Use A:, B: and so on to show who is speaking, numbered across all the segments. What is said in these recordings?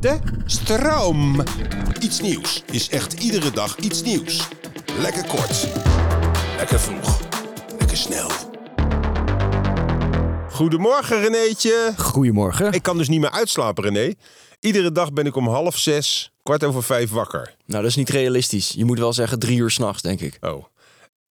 A: De stroom. Iets nieuws is echt iedere dag iets nieuws. Lekker kort. Lekker vroeg. Lekker snel. Goedemorgen Renéetje.
B: Goedemorgen.
A: Ik kan dus niet meer uitslapen René. Iedere dag ben ik om half zes, kwart over vijf wakker.
B: Nou, dat is niet realistisch. Je moet wel zeggen drie uur s'nachts, denk ik.
A: Oh.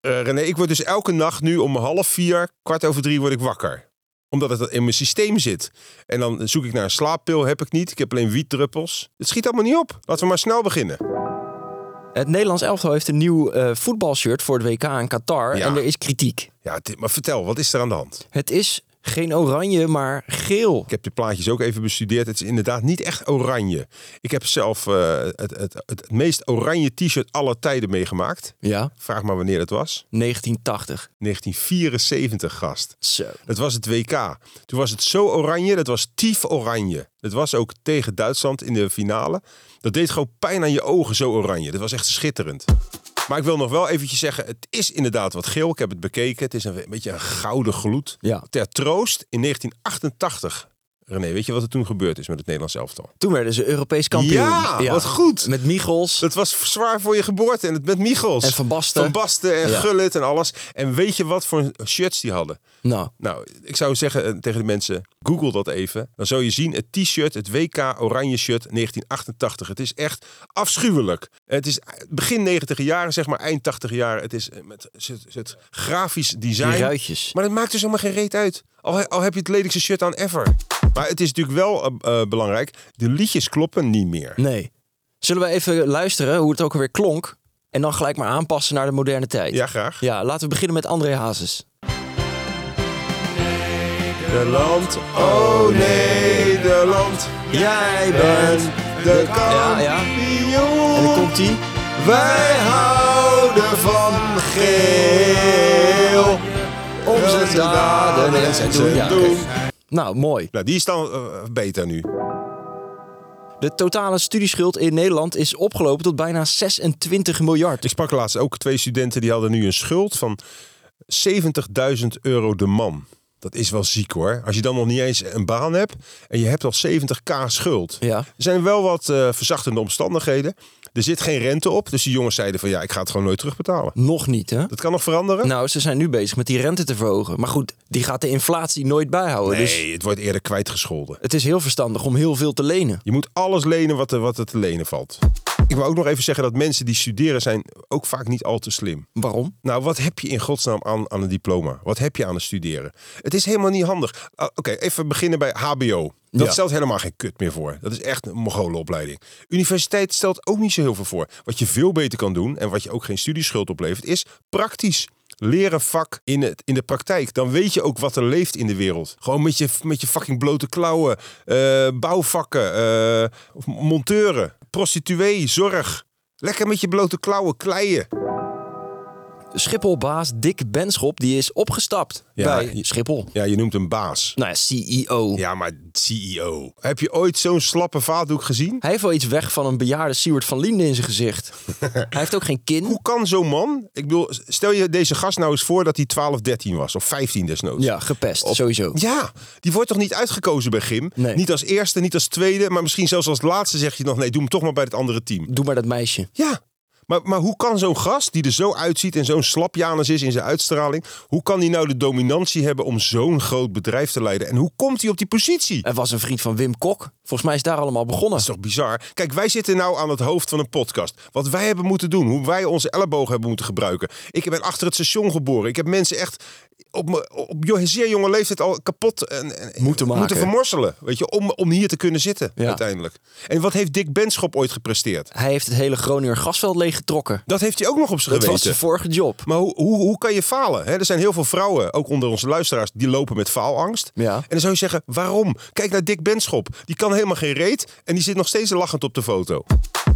A: Eh, René, ik word dus elke nacht nu om half vier, kwart over drie word ik wakker. Omdat het in mijn systeem zit. En dan zoek ik naar een slaappil, heb ik niet. Ik heb alleen wietdruppels. Het schiet allemaal niet op. Laten we maar snel beginnen.
B: Het Nederlands elftal heeft een nieuw eh, voetbalshirt voor het WK in Qatar.
A: Ja.
B: En er is kritiek.
A: Ja, dit- maar vertel, wat is er aan de hand?
B: Het is geen oranje, maar geel.
A: Ik heb de plaatjes ook even bestudeerd. Het is inderdaad niet echt oranje. Ik heb zelf eh, het, het, het meest oranje t-shirt aller tijden meegemaakt.
B: Ja,
A: Vraag maar wanneer dat was.
B: 1980.
A: 1974, gast.
B: Zo.
A: Dat was het WK. Toen was het zo oranje, dat was tief oranje. Dat was ook tegen Duitsland in de finale. Dat deed gewoon pijn aan je ogen, zo oranje. Dat was echt schitterend. Maar ik wil nog wel eventjes zeggen, het is inderdaad wat geel. Ik heb het bekeken. Het is een beetje een gouden gloed.
B: Ja,
A: Ter troost in 1988. René, weet je wat er toen gebeurd is met het Nederlands elftal?
B: toen werden ze Europees kampioen.
A: Ja, wat goed.
B: Met Michels.
A: Dat was zwaar voor je geboorte en het met Michels.
B: En Van Basten.
A: Van Basten en
B: Ja.
A: Gullit en alles. En weet je wat voor shirts die hadden?
B: Nou,
A: Nou, ik zou zeggen eh, tegen de mensen, google dat even. Dan zul je zien, het t-shirt, het WK oranje shirt 1988. Het is echt afschuwelijk. Het is begin 90 jaren, zeg maar eind 80 jaren. Het is eh, met het, het grafisch
B: die
A: design.
B: ruitjes.
A: Maar dat maakt dus helemaal geen reet uit. Al, al heb je het lelijkste shirt aan ever. Maar het is natuurlijk wel eh, eh, belangrijk. De liedjes kloppen niet meer.
B: Nee. Zullen we even luisteren hoe het ook alweer klonk? En dan gelijk maar aanpassen naar de moderne tijd.
A: Ja, graag.
B: Ja, laten we beginnen met André Hazes.
A: Nederland, oh Nederland.
B: Jij
A: de
B: Ja, ja. En dan komt hij.
A: Wij houden van geel.
B: Om zijn daden en zijn doen. Ja, oké. Nou, mooi.
A: Nou, die is dan eh, beter nu.
B: De totale studieschuld in Nederland is opgelopen tot bijna 26 miljard.
A: Ik sprak laatst ook twee studenten die hadden nu een schuld van 70.000 euro de man. Dat is wel ziek hoor. Als je dan nog niet eens een baan hebt en je hebt al 70k schuld.
B: Ja.
A: Er zijn wel wat eh, verzachtende omstandigheden. Er zit geen rente op. Dus die jongens zeiden van ja, ik ga het gewoon nooit terugbetalen.
B: Nog niet, hè?
A: Dat kan nog veranderen.
B: Nou, ze zijn nu bezig met die rente te verhogen. Maar goed, die gaat de inflatie nooit bijhouden. Dus
A: nee, het wordt eerder kwijtgescholden.
B: het is heel verstandig om heel veel te lenen.
A: Je moet alles lenen wat er, wat er te lenen valt. Ik wil ook nog even zeggen dat mensen die studeren zijn ook vaak niet al te slim.
B: Waarom?
A: Nou, wat heb je in godsnaam aan, aan een diploma? Wat heb je aan het studeren? Het is helemaal niet handig. Ah, Oké, even beginnen bij HBO. Dat
B: Ja.
A: stelt helemaal geen kut meer voor. Dat is echt een mogolenopleiding. Universiteit stelt ook niet zo heel veel voor. Wat je veel beter kan doen en wat je ook geen studieschuld oplevert, is praktisch. Leren vak in, het, in de praktijk. Dan weet je ook wat er leeft in de wereld. Gewoon met je, met je fucking blote klauwen. eh, bouwvakken. eh, of monteuren. Prostituee. Zorg. Lekker met je blote klauwen kleien.
B: Schipholbaas Dick Benschop die is opgestapt
A: Ja,
B: bij
A: je-
B: Schiphol.
A: Ja, je noemt een baas.
B: Nou ja, CEO.
A: Ja, maar CEO. Heb je ooit zo'n slappe vaatdoek gezien?
B: Hij heeft wel iets weg van een bejaarde Siewert van Liende in zijn gezicht. hij heeft ook geen kin.
A: Hoe kan zo'n man... Ik bedoel, stel je deze gast nou eens voor dat hij 12, 13 was. Of 15 desnoods.
B: Ja, gepest, sowieso.
A: Ja, die wordt toch niet uitgekozen bij Gim?
B: Nee.
A: Niet als eerste, niet als tweede, maar misschien zelfs als laatste zeg je nog... nee, doe hem toch maar bij het andere team.
B: Doe maar dat meisje.
A: Ja, Maar, maar hoe kan zo'n gast die er zo uitziet en zo'n slapjanus is in zijn uitstraling, hoe kan die nou de dominantie hebben om zo'n groot bedrijf te leiden? En hoe komt hij op die positie?
B: Er was een vriend van Wim Kok. Volgens mij is daar allemaal begonnen.
A: Dat is toch bizar? Kijk, wij zitten nou aan het hoofd van een podcast. Wat wij hebben moeten doen, hoe wij onze ellebogen hebben moeten gebruiken. Ik ben achter het station geboren. Ik heb mensen echt op, me- op jo- zeer jonge leeftijd al kapot en, en-
B: Moeten maken.
A: vermorselen. Weet je, om, om hier te kunnen zitten
B: Ja.
A: uiteindelijk. En wat heeft Dick Benschop ooit gepresteerd?
B: Hij heeft het hele Groninger gasveld leeggetrokken.
A: Dat heeft hij ook nog op zijn
B: Dat was
A: geweten.
B: zijn vorige job.
A: Maar hoe, hoe, hoe kan je falen? hè? er zijn heel veel vrouwen, ook onder onze luisteraars, die lopen met faalangst.
B: Ja.
A: En dan zou je zeggen, waarom? Kijk naar Dick Benschop. Die kan helemaal geen reet en die zit nog steeds lachend op de foto.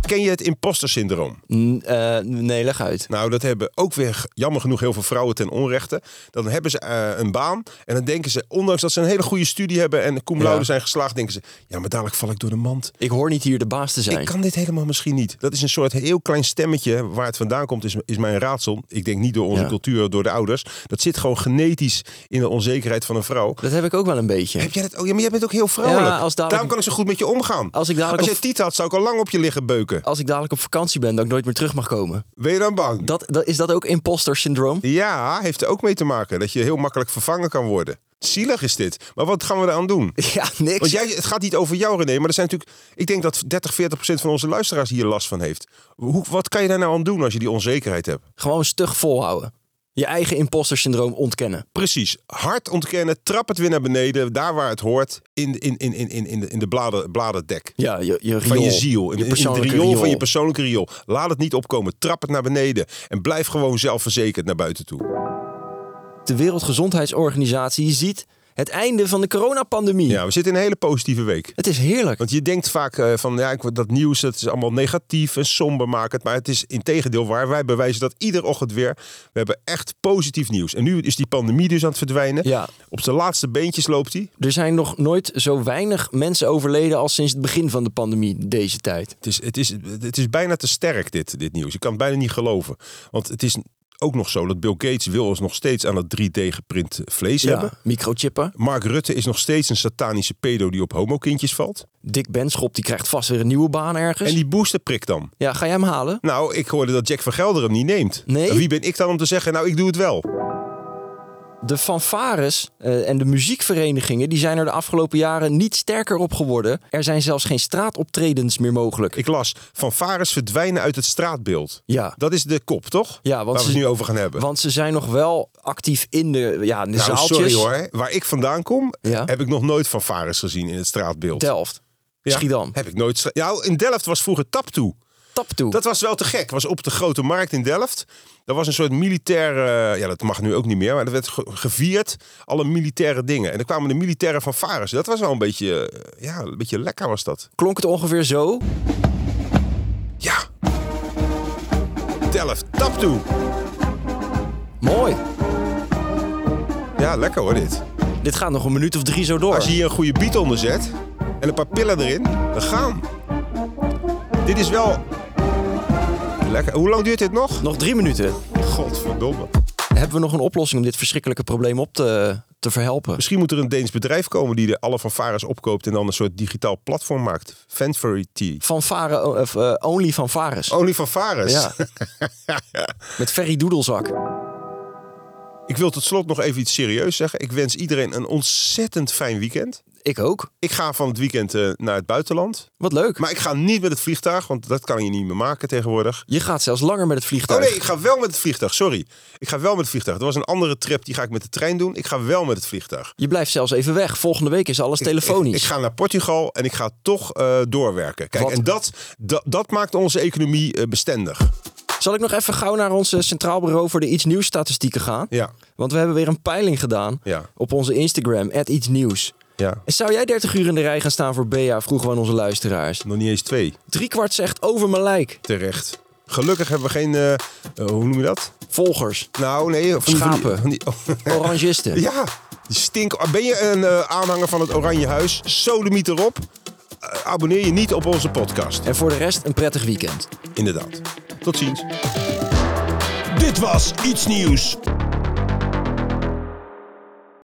A: Ken je het imposter syndroom?
B: N- eh, nee, leg uit.
A: Nou, dat hebben ook weer jammer genoeg heel veel vrouwen ten onrechte. Dan hebben ze eh, een baan en dan denken ze, ondanks dat ze een hele goede studie hebben en cum laude
B: Ja.
A: zijn geslaagd, denken ze, ja, maar dadelijk val ik door de mand.
B: Ik hoor niet hier de baas te zijn.
A: Ik kan dit helemaal misschien niet. Dat is een soort heel klein stemmetje. Waar het vandaan komt, is, is mijn raadsel. Ik denk niet door onze
B: Ja.
A: cultuur, door de ouders. Dat zit gewoon genetisch in de onzekerheid van een vrouw.
B: Dat heb ik ook wel een beetje.
A: Heb jij dat? Oh, ja, maar jij bent ook heel vrouwelijk.
B: Ja, als dadelijk-
A: Daarom kan ik zo goed met je omgaan.
B: Als ik dadelijk
A: Als jij
B: op-
A: tiet had, zou ik al lang op je liggen beuken.
B: Als ik dadelijk op vakantie ben, dat ik nooit meer terug mag komen.
A: Ben je dan bang?
B: Dat, dat, is dat ook imposter syndroom?
A: Ja, heeft er ook mee te maken. Dat je heel makkelijk vervangen kan worden. Zielig is dit. Maar wat gaan we eraan doen?
B: Ja, niks.
A: Want jij, het gaat niet over jou, René, maar er zijn natuurlijk. Ik denk dat 30, 40 procent van onze luisteraars hier last van heeft. Hoe, wat kan je daar nou aan doen als je die onzekerheid hebt?
B: Gewoon stug volhouden. Je eigen imposter syndroom ontkennen.
A: Precies. Hard ontkennen, trap het weer naar beneden, daar waar het hoort, in, in, in, in, in, in de, in de bladen, bladerdek.
B: Ja, je, je
A: Van je
B: riool.
A: ziel, in, in het riool,
B: persoonlijke
A: van je persoonlijke riool. Laat het niet opkomen, trap het naar beneden en blijf gewoon zelfverzekerd naar buiten toe.
B: De Wereldgezondheidsorganisatie ziet het einde van de coronapandemie.
A: Ja, we zitten in een hele positieve week.
B: Het is heerlijk.
A: Want je denkt vaak eh, van ja, ik word- dat nieuws dat is allemaal negatief en somber makend. Maar het is integendeel waar. Wij bewijzen dat iedere ochtend weer. We hebben echt positief nieuws. En nu is die pandemie dus aan het verdwijnen.
B: Ja.
A: Op zijn laatste beentjes loopt hij.
B: Er zijn nog nooit zo weinig mensen overleden als sinds het begin van de pandemie deze tijd.
A: Het is, het, is, het is bijna te sterk, dit, dit nieuws. Ik kan het bijna niet geloven. Want het is ook nog zo dat Bill Gates wil ons nog steeds aan dat 3D-geprint vlees hebben.
B: microchippen.
A: Mark Rutte is nog steeds een satanische pedo die op homokindjes valt.
B: Dick Benschop die krijgt vast weer een nieuwe baan ergens.
A: En die boosterprik dan?
B: Ja, ga jij hem halen?
A: Nou, ik hoorde dat Jack van Gelder hem niet neemt.
B: Nee?
A: En Wie ben ik dan om te zeggen, nou, ik doe het wel.
B: De fanfares eh, en de muziekverenigingen die zijn er de afgelopen jaren niet sterker op geworden. Er zijn zelfs geen straatoptredens meer mogelijk.
A: Ik las, fanfares verdwijnen uit het straatbeeld.
B: Ja,
A: Dat is de kop, toch?
B: Ja, want
A: Waar we
B: ze-
A: het nu over gaan hebben.
B: want ze zijn nog wel actief in de, ja, in de
A: nou,
B: zaaltjes.
A: sorry hoor. Waar ik vandaan kom,
B: Ja.
A: heb ik nog nooit fanfares gezien in het straatbeeld.
B: Delft,
A: Ja,
B: Schiedam,
A: Heb ik nooit. stra- Ja, in Delft was vroeger tap toe.
B: tap toe.
A: Dat was wel te gek. Was op de grote markt in Delft. Dat was een soort militair. eh, ja, dat mag nu ook niet meer. Maar dat werd ge- gevierd. Alle militaire dingen. En dan kwamen de militairen van Faris. Dat was wel een beetje. eh, ja, een beetje lekker was dat.
B: Klonk het ongeveer zo.
A: Ja. Delft, tap toe.
B: Mooi.
A: Ja, lekker hoor dit.
B: Dit gaat nog een minuut of drie zo door.
A: Als je hier een goede beat onder zet. En een paar pillen erin. Dan gaan. Dit is wel. Lekker. Hoe lang duurt dit nog?
B: Nog drie minuten.
A: Godverdomme.
B: Hebben we nog een oplossing om dit verschrikkelijke probleem op te, te verhelpen?
A: Misschien moet er een Deens bedrijf komen die de alle fanfares opkoopt en dan een soort digitaal platform maakt. Fanfary Tea.
B: Fanfare, of, eh, only fanfares.
A: Only fanfares.
B: Ja. Met Ferry Doedelzak.
A: Ik wil tot slot nog even iets serieus zeggen. Ik wens iedereen een ontzettend fijn weekend.
B: Ik ook.
A: Ik ga van het weekend eh, naar het buitenland.
B: Wat leuk.
A: Maar ik ga niet met het vliegtuig, want dat kan je niet meer maken tegenwoordig.
B: Je gaat zelfs langer met het
A: Oh
B: vliegtuig.
A: nee, ik ga wel met het vliegtuig, sorry. Ik ga wel met het vliegtuig. Er was een andere trip, die ga ik met de trein doen. Ik ga wel met het vliegtuig.
B: Je blijft zelfs even weg. Volgende week is alles telefonisch.
A: Ik, ik ga naar Portugal en ik ga toch eh, doorwerken. Kijk,
B: Wat-
A: en dat, dat, dat maakt onze economie eh, bestendig.
B: Zal ik nog even gauw naar ons eh, Centraal Bureau voor de Iets Nieuws statistieken gaan?
A: Ja.
B: Want we hebben weer een peiling gedaan
A: Ja.
B: op onze Instagram, Iets Nieuws.
A: Ja.
B: En zou jij 30 uur in de rij gaan staan voor Bea? Vroegen we aan onze luisteraars.
A: Nog niet eens twee.
B: Driekwart zegt over mijn lijk.
A: Terecht. Gelukkig hebben we geen, eh, eh, hoe noem je dat?
B: Volgers,
A: Nou, nee. van die- van die-
B: Schapen.
A: van die- oh,
B: orangisten.
A: ja, die stink. Ben je een eh, aanhanger van het Oranje Huis? Sodemiet erop. Eh, abonneer je niet op onze podcast.
B: En voor de rest een prettig weekend.
A: Inderdaad. Tot ziens. Dit was Iets Nieuws.